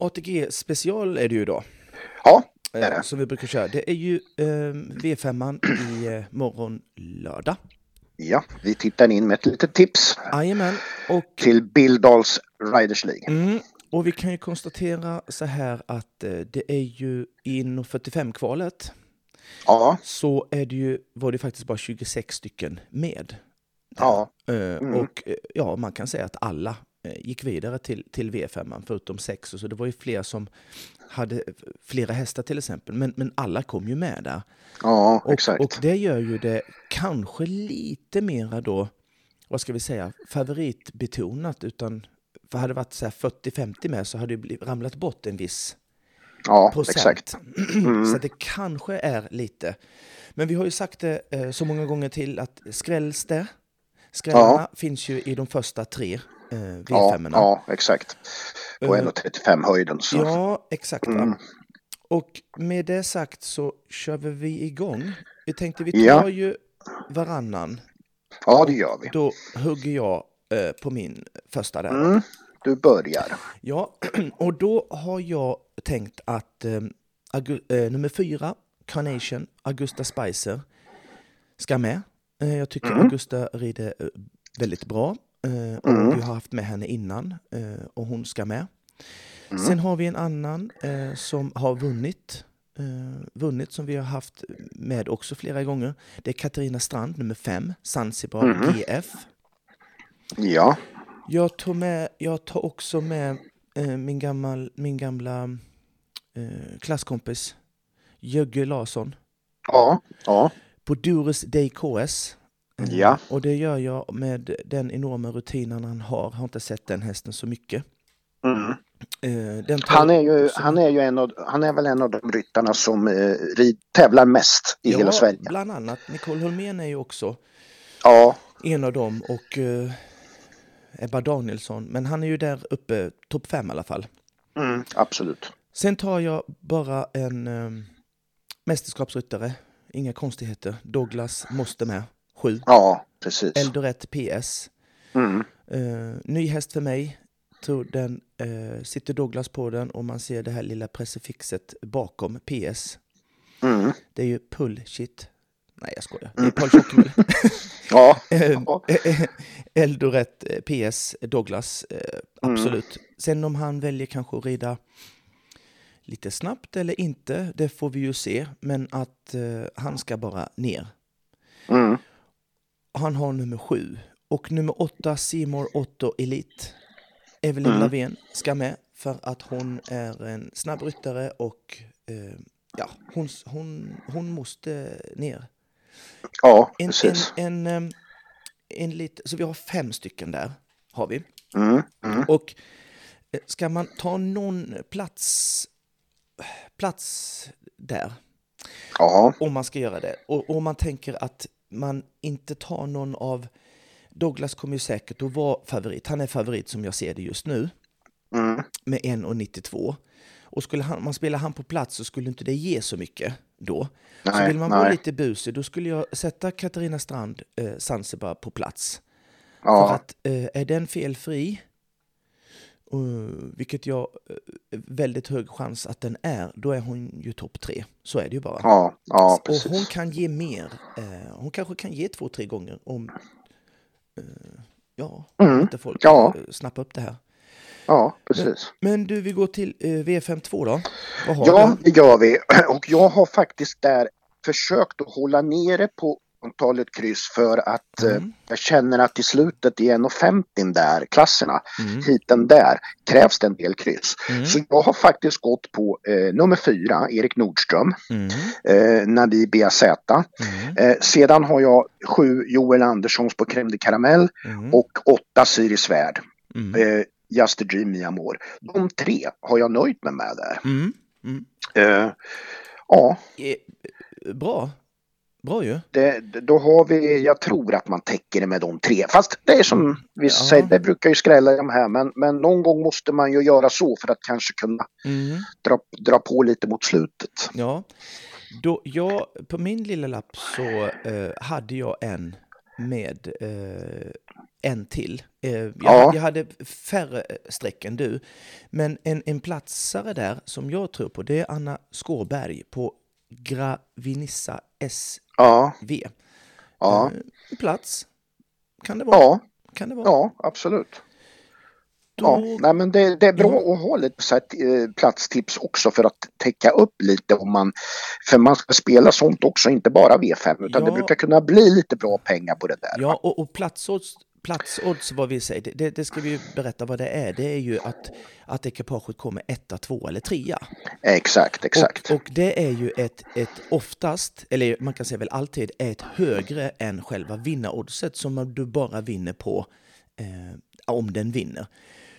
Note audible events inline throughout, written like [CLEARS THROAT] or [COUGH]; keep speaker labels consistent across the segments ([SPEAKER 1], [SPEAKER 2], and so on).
[SPEAKER 1] ATG special är det ju idag.
[SPEAKER 2] Ja,
[SPEAKER 1] eh,
[SPEAKER 2] det är det.
[SPEAKER 1] Som vi brukar köra. Det är ju eh, V5 i eh, morgon lördag.
[SPEAKER 2] Ja, vi tittar in med ett litet tips
[SPEAKER 1] Jajamän. Och,
[SPEAKER 2] till Bill Dahls Riders League.
[SPEAKER 1] mm, och vi kan ju konstatera så här att eh, det är ju i 45-kvalet
[SPEAKER 2] Ja,
[SPEAKER 1] så är det ju, var det faktiskt bara 26 stycken med.
[SPEAKER 2] ja,
[SPEAKER 1] Eh,
[SPEAKER 2] Mm.
[SPEAKER 1] Och eh, ja, man kan säga att alla eh, gick vidare till, till V5, förutom sex. Så det var ju fler som hade flera hästar till exempel, men, men alla kom ju med där.
[SPEAKER 2] ja,
[SPEAKER 1] Och,
[SPEAKER 2] exakt.
[SPEAKER 1] och det gör ju det kanske lite mera då, vad ska vi säga, favoritbetonat. Utan, för hade det varit så här 40-50 med så hade det bliv- ramlat bort en viss
[SPEAKER 2] ja,
[SPEAKER 1] procent. [CLEARS THROAT]
[SPEAKER 2] exakt. Mm.
[SPEAKER 1] Så att det kanske är lite. Men vi har ju sagt det eh, så många gånger till att skrälls det. Skrällarna finns ju i de första tre eh,
[SPEAKER 2] Ja,
[SPEAKER 1] V5.
[SPEAKER 2] ja, exakt. På
[SPEAKER 1] Eh,
[SPEAKER 2] 1,35 höjden. Så.
[SPEAKER 1] Ja, exakt.
[SPEAKER 2] Mm.
[SPEAKER 1] Va? Och med det sagt så kör vi igång. Vi tänkte vi tar
[SPEAKER 2] Ja.
[SPEAKER 1] ju varannan.
[SPEAKER 2] Ja, det gör vi.
[SPEAKER 1] Då hugger jag eh, på min första där.
[SPEAKER 2] Mm, du börjar.
[SPEAKER 1] Ja, [CLEARS THROAT] och då har jag tänkt att eh, agu- eh, nummer fyra, Carnation, Augusta Spicer, ska med. Eh, jag tycker Augusta rider eh, väldigt bra. Eh, och Vi har haft med henne innan eh, och hon ska med. Sen har vi en annan eh, som har vunnit. Eh, vunnit som vi har haft med också flera gånger. Det är Katarina Strand, nummer fem, Zanzibar GF.
[SPEAKER 2] Ja,
[SPEAKER 1] Jag tog med, jag tar också med eh, min, gammal, min gamla eh, klasskompis Jögge Larsson
[SPEAKER 2] ja, ja,
[SPEAKER 1] på Dures Day KS. Eh,
[SPEAKER 2] Ja.
[SPEAKER 1] Och det gör jag med den enorma rutinen han har. Jag har inte sett den hästen så mycket.
[SPEAKER 2] mm.
[SPEAKER 1] Eh, den tar-
[SPEAKER 2] Han är ju, han är ju en av, han är väl en av de ryttarna som eh, rid, tävlar mest i
[SPEAKER 1] Ja,
[SPEAKER 2] hela Sverige.
[SPEAKER 1] Bland annat. Nicole Holmén är ju också
[SPEAKER 2] Ja,
[SPEAKER 1] en av dem och eh, Ebba Danielsson. Men han är ju där uppe, topp fem i alla fall.
[SPEAKER 2] mm, absolut.
[SPEAKER 1] Sen tar jag bara en eh, mästerskapsryttare. Inga konstigheter. Douglas måste med. 7.
[SPEAKER 2] Ja, precis.
[SPEAKER 1] Eldoret PS.
[SPEAKER 2] Mm,
[SPEAKER 1] Eh, ny häst för mig. Tror den eh, sitter Douglas på den och man ser det här lilla prefixet bakom PS.
[SPEAKER 2] mm,
[SPEAKER 1] Det är ju pull shit. Nej, jag skojar. Det är Paul Tjockemöller.
[SPEAKER 2] ja,
[SPEAKER 1] Eh,
[SPEAKER 2] Ja.
[SPEAKER 1] eh, Eldoret eh, PS Douglas, eh, absolut. Sen om han väljer kanske att rida lite snabbt eller inte, det får vi ju se. Men att eh, han ska bara ner.
[SPEAKER 2] mm,
[SPEAKER 1] Han har nummer sju. Och nummer åtta, Seymour Otto Elite. Evelyn Lavén ska med för att hon är en snabb ryttare och eh, ja, hon, hon, hon måste ner.
[SPEAKER 2] ja,
[SPEAKER 1] En, en,
[SPEAKER 2] precis.
[SPEAKER 1] en, en, en lit, så vi har fem stycken där. Har vi.
[SPEAKER 2] Mm, mm,
[SPEAKER 1] Och eh, ska man ta någon plats, plats där,
[SPEAKER 2] ja,
[SPEAKER 1] om man ska göra det, och om man tänker att man inte tar någon av... Douglas kommer ju säkert att vara favorit. Han är favorit som jag ser det just nu,
[SPEAKER 2] mm,
[SPEAKER 1] med 1,92. Och skulle han, man spela han på plats så skulle inte det ge så mycket då. så
[SPEAKER 2] Nej,
[SPEAKER 1] vill man vara
[SPEAKER 2] nej.
[SPEAKER 1] lite busig, då skulle jag sätta Katarina Strand, eh, Zanzibar, på plats. För
[SPEAKER 2] ja,
[SPEAKER 1] att eh, är den felfri, eh, vilket jag eh, väldigt hög chans att den är, då är hon ju topp tre. Så är det ju bara.
[SPEAKER 2] ja, ja,
[SPEAKER 1] och hon
[SPEAKER 2] precis.
[SPEAKER 1] kan ge mer. Eh, hon kanske kan ge två, tre gånger om eh, ja,
[SPEAKER 2] Mm,
[SPEAKER 1] inte folk
[SPEAKER 2] ja.
[SPEAKER 1] eh, snappar upp det här.
[SPEAKER 2] Ja, precis.
[SPEAKER 1] Men du, vi går till eh, V52 då. Vad har
[SPEAKER 2] Ja,
[SPEAKER 1] du?
[SPEAKER 2] det gör vi. [CLEARS THROAT] Och jag har faktiskt där försökt att hålla nere på antalet kryss för att eh,
[SPEAKER 1] Mm.
[SPEAKER 2] jag känner att i slutet i 1,50 där, klasserna,
[SPEAKER 1] Mm.
[SPEAKER 2] hiten där, krävs det en del kryss.
[SPEAKER 1] Mm.
[SPEAKER 2] Så jag har faktiskt gått på eh, nummer fyra, Erik Nordström,
[SPEAKER 1] Mm.
[SPEAKER 2] eh, Nabi BZ.
[SPEAKER 1] Mm.
[SPEAKER 2] Eh, sedan har jag sju Joel Anderssons på Crème de Caramel
[SPEAKER 1] Mm.
[SPEAKER 2] och åtta Siri Svärd,
[SPEAKER 1] Mm.
[SPEAKER 2] eh, Just the Dream, Mi Amor. De tre har jag nöjt mig med där.
[SPEAKER 1] Mm. Mm.
[SPEAKER 2] Eh, ja,
[SPEAKER 1] Eh, Bra. Bra ju.
[SPEAKER 2] det, det- då har vi, jag tror att man täcker det med de tre. Fast det är som vi
[SPEAKER 1] Ja.
[SPEAKER 2] säger, det brukar ju skrälla i de här, men, men någon gång måste man ju göra så för att kanske kunna
[SPEAKER 1] Mm.
[SPEAKER 2] dra, dra på lite mot slutet.
[SPEAKER 1] Ja, då jag, på min lilla lapp så eh, hade jag en med eh, en till. Eh, jag,
[SPEAKER 2] Ja.
[SPEAKER 1] jag hade färre eh, streck än du. Men en, en platsare där som jag tror på, det är Anna Skåberg på Gravinissa SV.
[SPEAKER 2] Ja, ja,
[SPEAKER 1] Eh, Plats. Kan det vara?
[SPEAKER 2] ja,
[SPEAKER 1] Kan det vara?
[SPEAKER 2] ja absolut. Ja,
[SPEAKER 1] Då-
[SPEAKER 2] nej, men det, det är bra att ha lite så här, eh, platstips också för att täcka upp lite om man... För man ska spela sånt också, inte bara V5 utan det
[SPEAKER 1] Ja.
[SPEAKER 2] brukar kunna bli lite bra pengar på det där.
[SPEAKER 1] Ja, och, och platsodds, platsodds, vad vi säger, det- det, det ska vi ju berätta vad det är. Det är ju att, att ekipaget kommer etta, två eller trea.
[SPEAKER 2] Exakt, exakt.
[SPEAKER 1] Och, och det är ju ett, ett oftast, eller man kan säga väl alltid, är ett högre än själva vinnaroddset som du bara vinner på eh, om den vinner.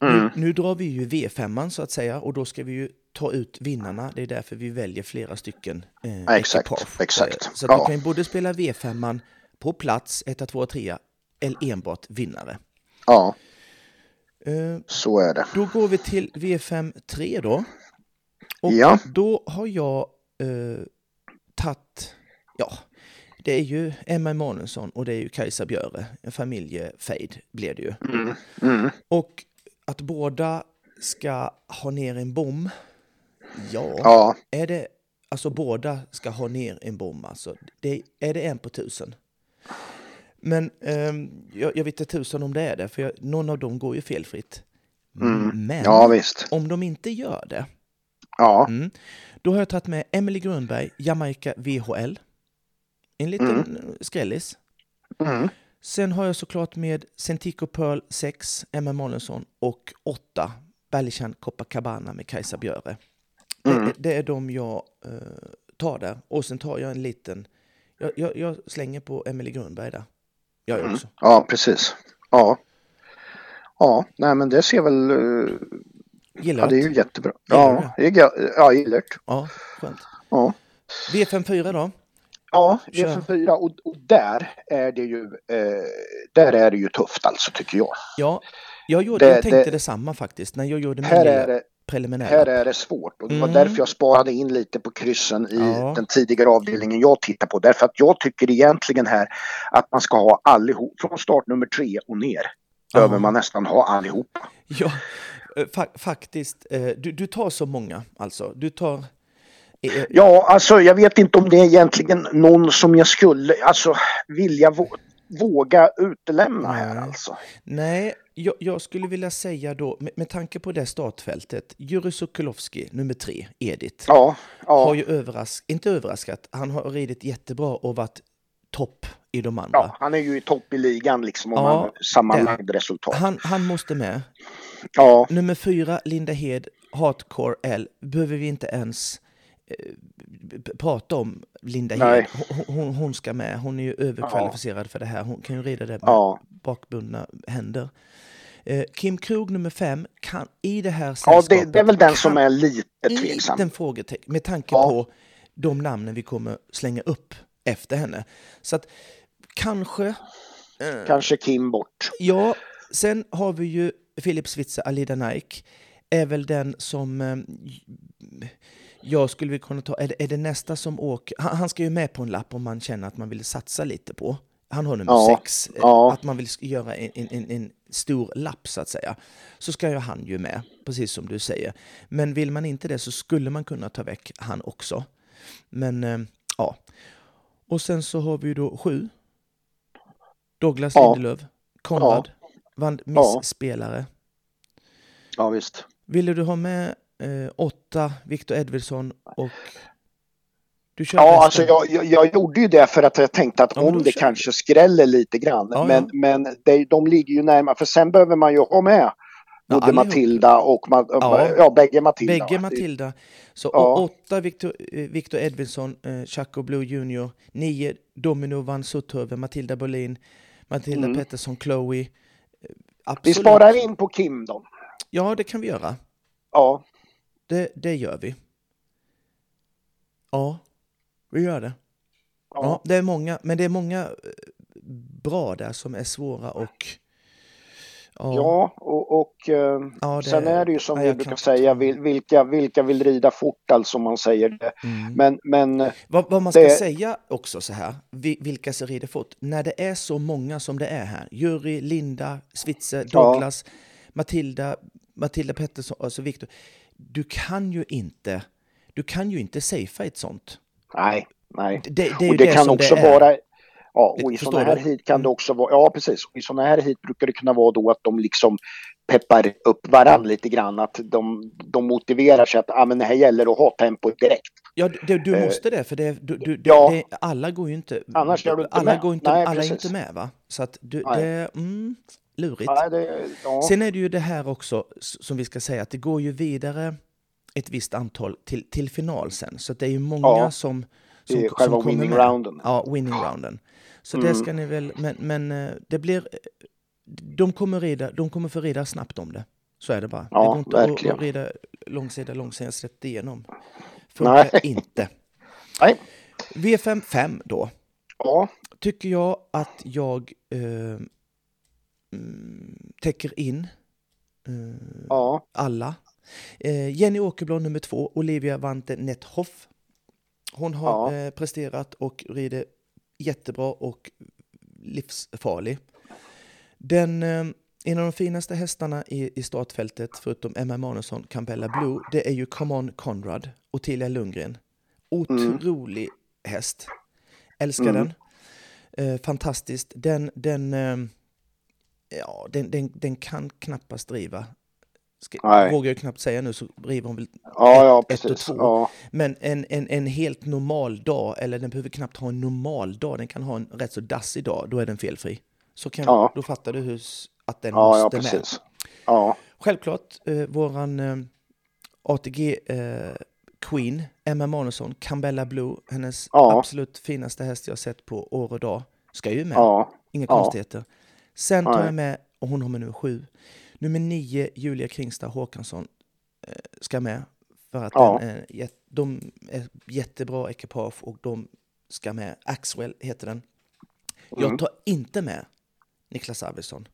[SPEAKER 2] Mm.
[SPEAKER 1] Nu, nu drar vi ju V5 så att säga och då ska vi ju ta ut vinnarna. Det är därför vi väljer flera stycken eh,
[SPEAKER 2] Exakt,
[SPEAKER 1] ekipage.
[SPEAKER 2] exakt.
[SPEAKER 1] Eh, Så att
[SPEAKER 2] Ja.
[SPEAKER 1] du kan ju både spela V5 på plats, 1, 2, 3 eller enbart vinnare.
[SPEAKER 2] Ja,
[SPEAKER 1] Eh,
[SPEAKER 2] så är det.
[SPEAKER 1] då går vi till V5 3 då. Och
[SPEAKER 2] Ja.
[SPEAKER 1] då har jag eh, tagit, ja, det är ju Emma Emanuelsson och det är ju Kajsa Björe, en familjefejd blev det ju.
[SPEAKER 2] Mm, mm.
[SPEAKER 1] Och att båda ska ha ner en bom, ja,
[SPEAKER 2] Ja,
[SPEAKER 1] är det, alltså båda ska ha ner en bom alltså, det, är det en på tusen? Men ehm, jag, jag vet inte tusen om det är det, för jag, någon av dem går ju felfritt. Men
[SPEAKER 2] ja visst.
[SPEAKER 1] om de inte gör det,
[SPEAKER 2] Ja,
[SPEAKER 1] mm, då har jag tagit med Emily Grönberg, Jamaica VHL. En liten eh, skrällis.
[SPEAKER 2] mm.
[SPEAKER 1] Sen har jag såklart med Sentico Pearl 6, Emma Månlensson och 8, Berlichan Copacabana med Kajsa Björe.
[SPEAKER 2] Mm.
[SPEAKER 1] Det, det är de jag eh, tar där. Och sen tar jag en liten... Jag, jag, jag slänger på Emily Grönberg där. Jag
[SPEAKER 2] Mm.
[SPEAKER 1] gör också.
[SPEAKER 2] ja precis. Ja. Ja, nej men det ser väl... eh,
[SPEAKER 1] Gillar
[SPEAKER 2] Ja, det är ju
[SPEAKER 1] det.
[SPEAKER 2] jättebra. Ja, det är ga- ja gillar det.
[SPEAKER 1] Ja, skönt.
[SPEAKER 2] Ja.
[SPEAKER 1] V54 då?
[SPEAKER 2] Ja,
[SPEAKER 1] Kör.
[SPEAKER 2] det 4 och, och där är det ju eh, där är det ju tufft alltså tycker jag.
[SPEAKER 1] Ja, jag, gjorde,
[SPEAKER 2] Det-
[SPEAKER 1] jag tänkte
[SPEAKER 2] det-
[SPEAKER 1] detsamma faktiskt när jag gjorde min
[SPEAKER 2] Här är
[SPEAKER 1] lilla
[SPEAKER 2] det,
[SPEAKER 1] preliminära.
[SPEAKER 2] här är det svårt och det var
[SPEAKER 1] Mm.
[SPEAKER 2] därför jag sparade in lite på kryssen i
[SPEAKER 1] Ja.
[SPEAKER 2] den tidigare avdelningen jag tittar på. Därför att jag tycker egentligen här att man ska ha allihop, från start nummer tre och ner
[SPEAKER 1] Ja.
[SPEAKER 2] behöver man nästan ha allihop.
[SPEAKER 1] Ja, eh, fa faktiskt. eh, Du, du tar så många alltså. Du tar... eh, eh,
[SPEAKER 2] Ja, alltså jag vet inte om det är egentligen någon som jag skulle alltså vilja vå- våga utelämna här
[SPEAKER 1] Nej.
[SPEAKER 2] alltså.
[SPEAKER 1] Nej, jag, jag skulle vilja säga då, med, med tanke på det startfältet, Jurij Sokolovski, nummer tre, Edith,
[SPEAKER 2] Ja, ja.
[SPEAKER 1] har ju överraskat, inte överraskat, han har ridit jättebra och varit topp i de andra.
[SPEAKER 2] Ja, han är ju i topp i ligan liksom om
[SPEAKER 1] Ja,
[SPEAKER 2] man sammanlagd resultat.
[SPEAKER 1] Han, han måste med.
[SPEAKER 2] Ja,
[SPEAKER 1] Nummer fyra, Linda Hed, Hardcore L, behöver vi inte ens eh, b- b- prata om Linda Hed.
[SPEAKER 2] Nej.
[SPEAKER 1] Hon, hon, hon ska med, hon är ju överkvalificerad för det här. Hon kan ju rida det med
[SPEAKER 2] ja,
[SPEAKER 1] bakbundna händer. Eh, Kim Krog nummer fem, kan, i det här
[SPEAKER 2] ja
[SPEAKER 1] sällskapet...
[SPEAKER 2] det, det är väl den som
[SPEAKER 1] kan-
[SPEAKER 2] är lite tveksam.
[SPEAKER 1] liten frågetecken med tanke
[SPEAKER 2] Ja.
[SPEAKER 1] på de namnen vi kommer slänga upp efter henne. Så att kanske,
[SPEAKER 2] Kanske Kim bort.
[SPEAKER 1] ja, sen har vi ju Filip Switzer, Alida Nike, är väl den som eh, jag skulle vilja kunna ta, är det, är det nästa som åker, han, han ska ju med på en lapp om man känner att man vill satsa lite på. Han har nummer
[SPEAKER 2] Ja,
[SPEAKER 1] sex, eh,
[SPEAKER 2] ja.
[SPEAKER 1] att man vill sk- göra en, en- en, en stor lapp så att säga. Så ska ju han ju med, precis som du säger. Men vill man inte det så skulle man kunna ta väck han också. Men eh, ja. Och sen så har vi ju då sju. Douglas
[SPEAKER 2] Ja.
[SPEAKER 1] Lindelöf, Konrad, vann
[SPEAKER 2] Ja.
[SPEAKER 1] misspelare.
[SPEAKER 2] Ja, visst.
[SPEAKER 1] Ville du ha med eh, åtta, Victor Edvardsson och... Du kör
[SPEAKER 2] Ja,
[SPEAKER 1] resten.
[SPEAKER 2] alltså jag, jag, jag gjorde ju det för att jag tänkte att
[SPEAKER 1] Ja, men
[SPEAKER 2] om
[SPEAKER 1] då
[SPEAKER 2] det
[SPEAKER 1] kör
[SPEAKER 2] kanske skräller lite grann.
[SPEAKER 1] Ja,
[SPEAKER 2] men men det, de ligger ju närmare, för sen behöver man ju ha med
[SPEAKER 1] Ja,
[SPEAKER 2] både
[SPEAKER 1] allihop.
[SPEAKER 2] Matilda och Ma-
[SPEAKER 1] Ja.
[SPEAKER 2] ja. Ja, bägge Matilda.
[SPEAKER 1] Bägge
[SPEAKER 2] va?
[SPEAKER 1] Matilda. Så
[SPEAKER 2] Ja.
[SPEAKER 1] och åtta Victor, eh, Victor Edvinsson, eh, Chaco Blue Junior. Nio Domino Van Sutthöven, Matilda Bolin, Matilda
[SPEAKER 2] Mm.
[SPEAKER 1] Pettersson, Chloe. Eh,
[SPEAKER 2] Vi
[SPEAKER 1] Absolut.
[SPEAKER 2] sparar in på Kim då.
[SPEAKER 1] Ja, det kan vi göra.
[SPEAKER 2] Ja,
[SPEAKER 1] Det, det gör vi. Ja, vi gör det. Ja.
[SPEAKER 2] ja.
[SPEAKER 1] det är många, men det är många eh, bra där som är svåra och
[SPEAKER 2] Ja, och, och eh,
[SPEAKER 1] ja, det-
[SPEAKER 2] sen är det ju som
[SPEAKER 1] nej,
[SPEAKER 2] vi
[SPEAKER 1] jag
[SPEAKER 2] brukar
[SPEAKER 1] kan-
[SPEAKER 2] säga, vil- vilka, vilka vill rida fort, alltså om man säger det.
[SPEAKER 1] Mm.
[SPEAKER 2] Men, men eh,
[SPEAKER 1] Vad, vad man ska
[SPEAKER 2] Det-
[SPEAKER 1] säga också så här, vi, vilka som rider fort, när det är så många som det är här, Jury, Linda, Switzer,
[SPEAKER 2] Ja.
[SPEAKER 1] Douglas, Matilda, Matilda Pettersson, alltså Viktor, du kan ju inte, du kan ju inte safea ett sånt.
[SPEAKER 2] nej, nej.
[SPEAKER 1] Det, det är ju
[SPEAKER 2] och det, kan
[SPEAKER 1] som
[SPEAKER 2] också
[SPEAKER 1] det är.
[SPEAKER 2] vara Ja, och i
[SPEAKER 1] Förstår
[SPEAKER 2] sådana här
[SPEAKER 1] du? Mm.
[SPEAKER 2] hit kan det också vara, ja precis, Och i sådana här hit brukar det kunna vara då att de liksom peppar upp varandra lite grann, att de, de motiverar sig att ah, men det här gäller att ha tempo direkt.
[SPEAKER 1] Ja, du, du
[SPEAKER 2] Eh,
[SPEAKER 1] måste det, för det, du, du, det,
[SPEAKER 2] ja.
[SPEAKER 1] det, alla går ju inte...
[SPEAKER 2] Annars är du inte
[SPEAKER 1] alla
[SPEAKER 2] med.
[SPEAKER 1] Går inte,
[SPEAKER 2] Nej,
[SPEAKER 1] alla är
[SPEAKER 2] precis.
[SPEAKER 1] inte med, va? Så att du,
[SPEAKER 2] Nej.
[SPEAKER 1] det... Mm, lurigt.
[SPEAKER 2] Ja, det, ja.
[SPEAKER 1] Sen är det ju det här också s- som vi ska säga, att det går ju vidare ett visst antal till, till final sen. Så att det är ju många
[SPEAKER 2] Ja.
[SPEAKER 1] som,
[SPEAKER 2] Det är
[SPEAKER 1] som,
[SPEAKER 2] själva
[SPEAKER 1] som kommer
[SPEAKER 2] winning
[SPEAKER 1] med.
[SPEAKER 2] rounden.
[SPEAKER 1] Ja, winning rounden. Så det
[SPEAKER 2] Mm.
[SPEAKER 1] ska ni väl... Men, men eh, det blir... De kommer, rida, de kommer få rida snabbt om det. Så är det bara.
[SPEAKER 2] Ja,
[SPEAKER 1] det går inte att,
[SPEAKER 2] verkligen.
[SPEAKER 1] att rida långsida, långsida, rätt igenom.
[SPEAKER 2] Nej.
[SPEAKER 1] Funkar inte.
[SPEAKER 2] Nej.
[SPEAKER 1] V5 5 då,
[SPEAKER 2] Ja,
[SPEAKER 1] Mm. tycker jag att jag eh, mm, täcker in eh,
[SPEAKER 2] ja.
[SPEAKER 1] alla. Eh, Jenny Åkerblom nummer två, Olivia Vante Nethoff. Hon har
[SPEAKER 2] Ja.
[SPEAKER 1] eh, presterat och rider jättebra och livsfarlig. Den, eh, en av de finaste hästarna i, i startfältet, förutom Emma Manusson, Campbella Blue, det är ju Come On Conrad, Ottilia Lundgren. Otrolig häst. Älskar
[SPEAKER 2] Mm.
[SPEAKER 1] den. Eh, fantastiskt. Den, den, eh, ja, den, den, den kan knappast driva. Ska,
[SPEAKER 2] Nej.
[SPEAKER 1] vågar jag knappt säga nu så driver hon väl.
[SPEAKER 2] Ja, ja,
[SPEAKER 1] ett- ett och
[SPEAKER 2] precis.
[SPEAKER 1] två.
[SPEAKER 2] Ja,
[SPEAKER 1] Men en, en, en helt normal dag, eller den behöver knappt ha en normal dag, den kan ha en rätt så dassig dag, då är den felfri. Så kan,
[SPEAKER 2] Ja.
[SPEAKER 1] Då fattar du hur, s- att den
[SPEAKER 2] ja, ja
[SPEAKER 1] måste med.
[SPEAKER 2] precis. Ja,
[SPEAKER 1] Självklart, eh, våran eh, ATG-queen, eh, Emma Manusson, Campbella Blue, hennes
[SPEAKER 2] Ja.
[SPEAKER 1] absolut finaste häst jag sett på år och dag, ska ju med.
[SPEAKER 2] ja,
[SPEAKER 1] Inga
[SPEAKER 2] Ja.
[SPEAKER 1] konstigheter. Sen tar
[SPEAKER 2] Nej.
[SPEAKER 1] jag med, och hon har med nummer sju. Nummer nio, Julia Kringstad Håkansson, eh, ska med. För att
[SPEAKER 2] Ja.
[SPEAKER 1] den är, jät- de är jättebra ekipage och de ska med. Axwell heter den. Jag
[SPEAKER 2] Mm.
[SPEAKER 1] tar inte med Niklas Arvidsson.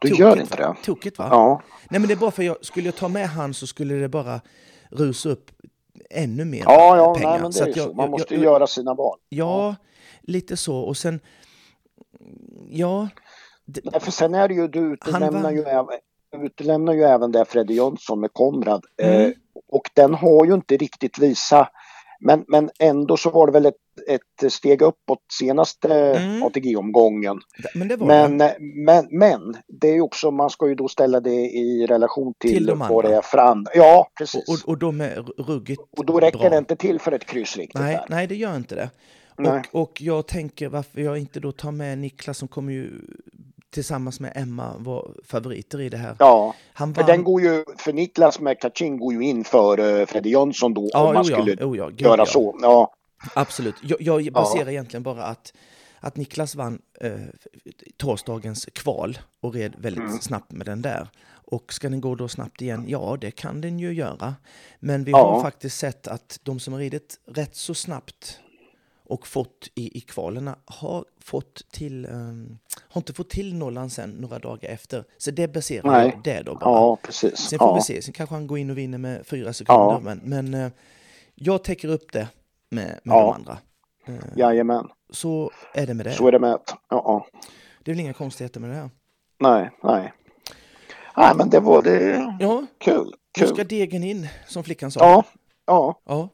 [SPEAKER 2] du
[SPEAKER 1] Tokigt,
[SPEAKER 2] gör inte
[SPEAKER 1] va?
[SPEAKER 2] det.
[SPEAKER 1] Tokigt va?
[SPEAKER 2] Ja,
[SPEAKER 1] Nej men det är bara för jag, skulle jag ta med han så skulle det bara rusa upp ännu mer
[SPEAKER 2] ja, ja
[SPEAKER 1] pengar.
[SPEAKER 2] nej, men det
[SPEAKER 1] Så
[SPEAKER 2] är
[SPEAKER 1] att
[SPEAKER 2] ju
[SPEAKER 1] jag-
[SPEAKER 2] så. Man
[SPEAKER 1] jag-
[SPEAKER 2] måste
[SPEAKER 1] jag-
[SPEAKER 2] ju göra sina val.
[SPEAKER 1] Ja, lite så. Och sen, ja,
[SPEAKER 2] Nej, För sen är det ju, du utelämnar
[SPEAKER 1] vann.
[SPEAKER 2] ju, även, du utelämnar ju även det Freddy Jönsson med Konrad.
[SPEAKER 1] Mm.
[SPEAKER 2] Eh, och den har ju inte riktigt visat, men, men ändå så var det väl ett, ett steg uppåt senaste
[SPEAKER 1] Mm.
[SPEAKER 2] ATG-omgången.
[SPEAKER 1] d- men det var det.
[SPEAKER 2] Men, eh, men, men det är ju också, man ska ju då ställa det i relation till,
[SPEAKER 1] Till de
[SPEAKER 2] vad
[SPEAKER 1] andra.
[SPEAKER 2] det är fram. Ja, precis.
[SPEAKER 1] Och, och, och de är r- ruggigt
[SPEAKER 2] Och då räcker
[SPEAKER 1] bra.
[SPEAKER 2] det inte till för ett kryss riktigt
[SPEAKER 1] Nej,
[SPEAKER 2] där.
[SPEAKER 1] nej, det gör inte det.
[SPEAKER 2] Nej.
[SPEAKER 1] Och, och jag tänker varför jag inte då tar med Niklas som kommer ju tillsammans med Emma vara favoriter i det här.
[SPEAKER 2] Ja,
[SPEAKER 1] Han
[SPEAKER 2] för den går ju, för Niklas med Kachin går ju in för uh, Freddy Jönsson då om man
[SPEAKER 1] jo,
[SPEAKER 2] skulle
[SPEAKER 1] ja, jo, ja, gud,
[SPEAKER 2] göra
[SPEAKER 1] ja.
[SPEAKER 2] så. Ja,
[SPEAKER 1] Absolut. Jag, jag baserar egentligen bara att, att Niklas vann eh, torsdagens kval och red väldigt
[SPEAKER 2] Mm.
[SPEAKER 1] snabbt med den där. Och ska den gå då snabbt igen? Ja, det kan den ju göra. Men vi
[SPEAKER 2] Ja.
[SPEAKER 1] har faktiskt sett att de som har ridit rätt så snabbt och fått i, i kvalerna har fått till, ehm, har inte fått till nollan sen några dagar efter. Så det baserar
[SPEAKER 2] Nej.
[SPEAKER 1] jag det då bara.
[SPEAKER 2] ja precis.
[SPEAKER 1] Sen får vi
[SPEAKER 2] Ja,
[SPEAKER 1] se, sen kanske han går in och vinner med fyra sekunder.
[SPEAKER 2] Ja.
[SPEAKER 1] Men, men eh, jag täcker upp det med, med
[SPEAKER 2] Ja.
[SPEAKER 1] de andra. Eh,
[SPEAKER 2] jajamän,
[SPEAKER 1] Så är det med det.
[SPEAKER 2] så är det med. Ja, ja.
[SPEAKER 1] Det är väl inga konstigheter med det här.
[SPEAKER 2] Nej, nej. Nej, men det var det.
[SPEAKER 1] Ja,
[SPEAKER 2] Kul,
[SPEAKER 1] nu
[SPEAKER 2] kul.
[SPEAKER 1] ska degen in, som flickan sa.
[SPEAKER 2] Ja, ja.
[SPEAKER 1] Ja.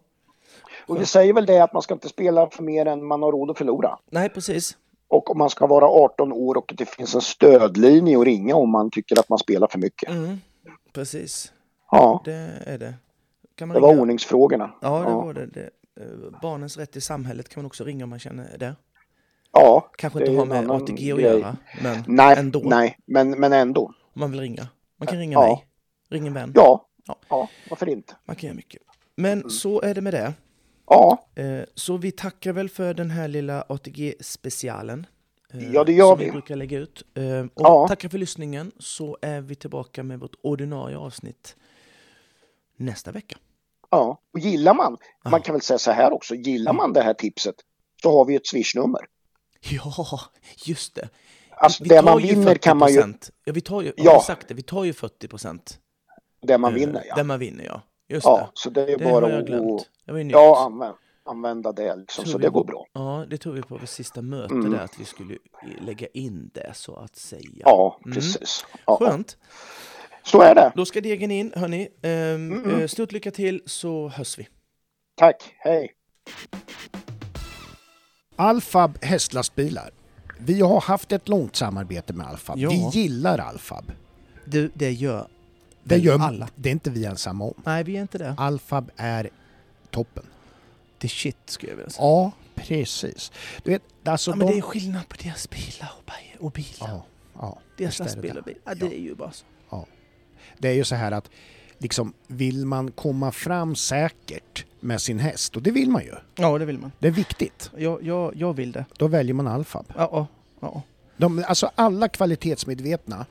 [SPEAKER 2] Och vi säger väl det att man ska inte spela för mer än man har råd att förlora.
[SPEAKER 1] Nej, precis.
[SPEAKER 2] Och om man ska vara 18 år och det finns en stödlinje att ringa om man tycker att man spelar för mycket.
[SPEAKER 1] Mm. Precis,
[SPEAKER 2] Ja,
[SPEAKER 1] det är det. Kan man
[SPEAKER 2] det var
[SPEAKER 1] ringa-
[SPEAKER 2] ordningsfrågorna.
[SPEAKER 1] Ja, det
[SPEAKER 2] ja.
[SPEAKER 1] var det. det. eh, Barnens rätt i samhället kan man också ringa om man känner det.
[SPEAKER 2] Ja,
[SPEAKER 1] Kanske
[SPEAKER 2] det
[SPEAKER 1] inte
[SPEAKER 2] är
[SPEAKER 1] har
[SPEAKER 2] en
[SPEAKER 1] med
[SPEAKER 2] annan
[SPEAKER 1] ATG att
[SPEAKER 2] grej.
[SPEAKER 1] göra, men
[SPEAKER 2] Nej,
[SPEAKER 1] ändå.
[SPEAKER 2] nej, men, men ändå.
[SPEAKER 1] Om man vill ringa. Man kan ringa
[SPEAKER 2] Ja.
[SPEAKER 1] mig, ring en vän.
[SPEAKER 2] Ja.
[SPEAKER 1] Ja.
[SPEAKER 2] ja, varför inte?
[SPEAKER 1] Man kan göra mycket. Men
[SPEAKER 2] Mm.
[SPEAKER 1] så är det med det.
[SPEAKER 2] Ja,
[SPEAKER 1] Eh, Så vi tackar väl för den här lilla ATG-specialen. eh,
[SPEAKER 2] Ja, det gör
[SPEAKER 1] som vi.
[SPEAKER 2] vi.
[SPEAKER 1] brukar lägga ut. Eh, Och
[SPEAKER 2] Ja.
[SPEAKER 1] tackar för lyssningen så är vi tillbaka med vårt ordinarie avsnitt nästa vecka. [LAUGHS]
[SPEAKER 2] ja. Och gillar man,
[SPEAKER 1] Ja.
[SPEAKER 2] man kan väl säga så här också, gillar man det här tipset så har vi ett swishnummer.
[SPEAKER 1] Ja, just det.
[SPEAKER 3] Alltså
[SPEAKER 1] vi
[SPEAKER 3] det
[SPEAKER 1] tar
[SPEAKER 3] man
[SPEAKER 1] ju
[SPEAKER 3] vinner kan man ju,
[SPEAKER 1] 40%. Ja, vi tar ju, ja.
[SPEAKER 3] Ja.
[SPEAKER 1] Har vi sagt det? Vi tar ju 40 procent.
[SPEAKER 3] det man vinner ja.
[SPEAKER 1] Där man vinner, ja. Just
[SPEAKER 3] ja så det är ju
[SPEAKER 1] det. Det
[SPEAKER 3] bara
[SPEAKER 1] har jag
[SPEAKER 3] att
[SPEAKER 1] glömt. Det var ju nytt.
[SPEAKER 3] ja, använda, använda det liksom,
[SPEAKER 1] Tror
[SPEAKER 3] så
[SPEAKER 1] vi-
[SPEAKER 3] det går bra.
[SPEAKER 1] Ja, det tog vi på vårt sista möte
[SPEAKER 3] Mm.
[SPEAKER 1] där, att vi skulle lägga in det så att säga.
[SPEAKER 3] Ja,
[SPEAKER 1] Mm.
[SPEAKER 3] precis. Ja.
[SPEAKER 1] Skönt.
[SPEAKER 3] Så är det.
[SPEAKER 1] Då ska degen in, hörni. Ehm, eh, Stort lycka till, så hörs vi.
[SPEAKER 3] Tack, hej.
[SPEAKER 2] Alfab hästlastbilar. Vi har haft ett långt samarbete med Alfab.
[SPEAKER 1] Ja.
[SPEAKER 2] Vi gillar Alfab.
[SPEAKER 1] Du, det gör
[SPEAKER 2] Det, gör,
[SPEAKER 1] alla.
[SPEAKER 2] det är inte vi ensamma om.
[SPEAKER 1] Nej, vi är inte det.
[SPEAKER 2] Alfab är toppen.
[SPEAKER 1] Det är shit, skulle jag vilja säga.
[SPEAKER 2] Ja, precis. Du vet, alltså
[SPEAKER 1] Ja, men
[SPEAKER 2] de...
[SPEAKER 1] det är skillnad på deras bilar och, bi- och bilar.
[SPEAKER 2] ja, ja,
[SPEAKER 1] deras
[SPEAKER 2] visst är det
[SPEAKER 1] lastbilar och
[SPEAKER 2] det.
[SPEAKER 1] bilar. Ja, det
[SPEAKER 2] Ja.
[SPEAKER 1] är ju bara så.
[SPEAKER 2] det är ju så här att liksom, vill man komma fram säkert med sin häst, och det vill man ju,
[SPEAKER 1] Ja, det vill man.
[SPEAKER 2] det är viktigt,
[SPEAKER 1] Jag, jag, jag vill det.
[SPEAKER 2] då väljer man Alfab.
[SPEAKER 1] Ja, ja, ja.
[SPEAKER 2] De, alltså alla kvalitetsmedvetna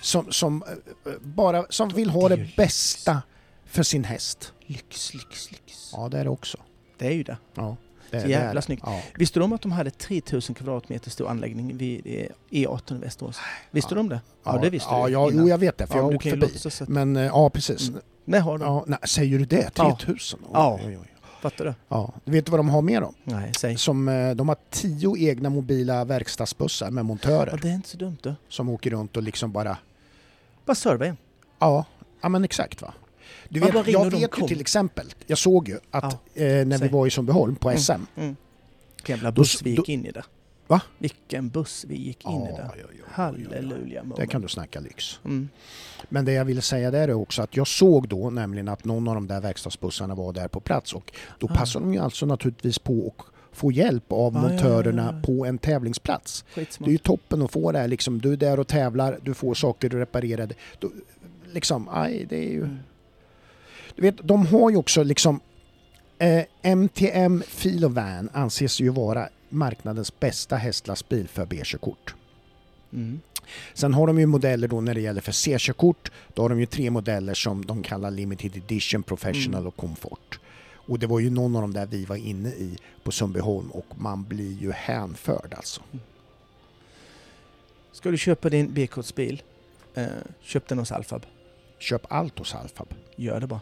[SPEAKER 2] som, som, eh, bara, som vill ha
[SPEAKER 1] det är
[SPEAKER 2] det
[SPEAKER 1] ju
[SPEAKER 2] bästa för sin häst.
[SPEAKER 1] Lyx, lyx, lyx.
[SPEAKER 2] Ja, det är det också.
[SPEAKER 1] Det är ju det.
[SPEAKER 2] Ja, det,
[SPEAKER 1] Så
[SPEAKER 2] det är
[SPEAKER 1] jävla
[SPEAKER 2] det.
[SPEAKER 1] snyggt.
[SPEAKER 2] Ja.
[SPEAKER 1] Visste du om att de hade 3000 kvadratmeter stor anläggning vid eh, E18 i Västerås? Visste du om det? Ja, det visste
[SPEAKER 2] ja,
[SPEAKER 1] du
[SPEAKER 2] ja,
[SPEAKER 1] innan.
[SPEAKER 2] Jo, jag vet det, för
[SPEAKER 1] Ja,
[SPEAKER 2] jag har
[SPEAKER 1] men
[SPEAKER 2] åkt
[SPEAKER 1] du kan ju
[SPEAKER 2] förbi.
[SPEAKER 1] låtsas att-
[SPEAKER 2] Men eh, ja, precis.
[SPEAKER 1] Mm. Nej, har de.
[SPEAKER 2] Ja, nej, säger du det?
[SPEAKER 1] Ja.
[SPEAKER 2] 3000?
[SPEAKER 1] Ja.
[SPEAKER 2] Oj, oj, oj.
[SPEAKER 1] Fattar du?
[SPEAKER 2] ja. Du vet vad de har med dem?
[SPEAKER 1] Nej, säg.
[SPEAKER 2] Som, eh, de har tio egna mobila verkstadsbussar med
[SPEAKER 1] Ja,
[SPEAKER 2] montörer
[SPEAKER 1] det är inte så dumt du.
[SPEAKER 2] som åker runt och liksom bara...
[SPEAKER 1] Bara serva igen.
[SPEAKER 2] Ja, ja men exakt va. Du
[SPEAKER 1] Man
[SPEAKER 2] vet,
[SPEAKER 1] bara ringer och
[SPEAKER 2] jag
[SPEAKER 1] de
[SPEAKER 2] vet ju
[SPEAKER 1] kom.
[SPEAKER 2] till exempel, jag såg ju att eh, när
[SPEAKER 1] säg.
[SPEAKER 2] vi var i Sundbyholm på SM,
[SPEAKER 1] Mm. Vilken jävla
[SPEAKER 2] Då s-
[SPEAKER 1] buss vi gick
[SPEAKER 2] då-
[SPEAKER 1] in i där.
[SPEAKER 2] Va?
[SPEAKER 1] Vilken buss vi gick in i
[SPEAKER 2] Ja,
[SPEAKER 1] där.
[SPEAKER 2] ja, ja, ja, ja.
[SPEAKER 1] Halleluja
[SPEAKER 2] där
[SPEAKER 1] moment.
[SPEAKER 2] kan du snacka lyx.
[SPEAKER 1] Mm.
[SPEAKER 2] Men det jag ville säga där är också att jag såg då nämligen att någon av de där verkstadsbussarna var där på plats och då
[SPEAKER 1] Ah.
[SPEAKER 2] passar de ju alltså naturligtvis på att få hjälp av
[SPEAKER 1] Ah, ja, ja,
[SPEAKER 2] montörerna
[SPEAKER 1] ja, ja.
[SPEAKER 2] på en tävlingsplats. Det är
[SPEAKER 1] Skitsmart.
[SPEAKER 2] ju toppen att få det här liksom, du är där och tävlar, du får saker reparerade. Då, liksom, aj, det är
[SPEAKER 1] Mm.
[SPEAKER 2] ju... Du vet, de har ju också liksom eh, MTM Filovan anses ju vara marknadens bästa hästlastbil för B-körkort.
[SPEAKER 1] Mm.
[SPEAKER 2] Sen har de ju modeller då när det gäller för C-körkort. Då har de ju tre modeller som de kallar Limited Edition, Professional och Comfort. Och det var ju någon av de där vi var inne i på Sundbyholm och man blir ju hänförd alltså.
[SPEAKER 1] Ska du köpa din B-kortsbil, eh, köp den hos Alfab.
[SPEAKER 2] Köp allt hos Alfab.
[SPEAKER 1] Gör det bara.